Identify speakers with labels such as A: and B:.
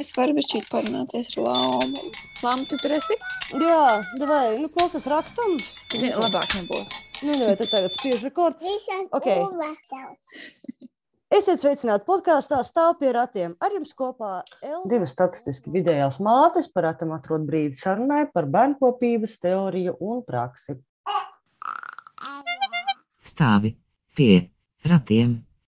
A: Es varu bišķīt parunāties ar Lāmu. Lāmu, tu tur esi?
B: Jā, vai nu klausās rakstam?
A: Zini, labāk nebūs.
B: Nu, nē, tad tagad spiež rekordu.
C: Visas
B: Okei.
C: uvasās.
B: Esiet sveicināti podkāstā Stāv pie ratiem. Ar jums kopā Elga.
D: Divas statistiski vidējās mātes par atam atrod brīdi sarunai par bērnkopības teoriju un praksi.
E: stāvi pie ratiem.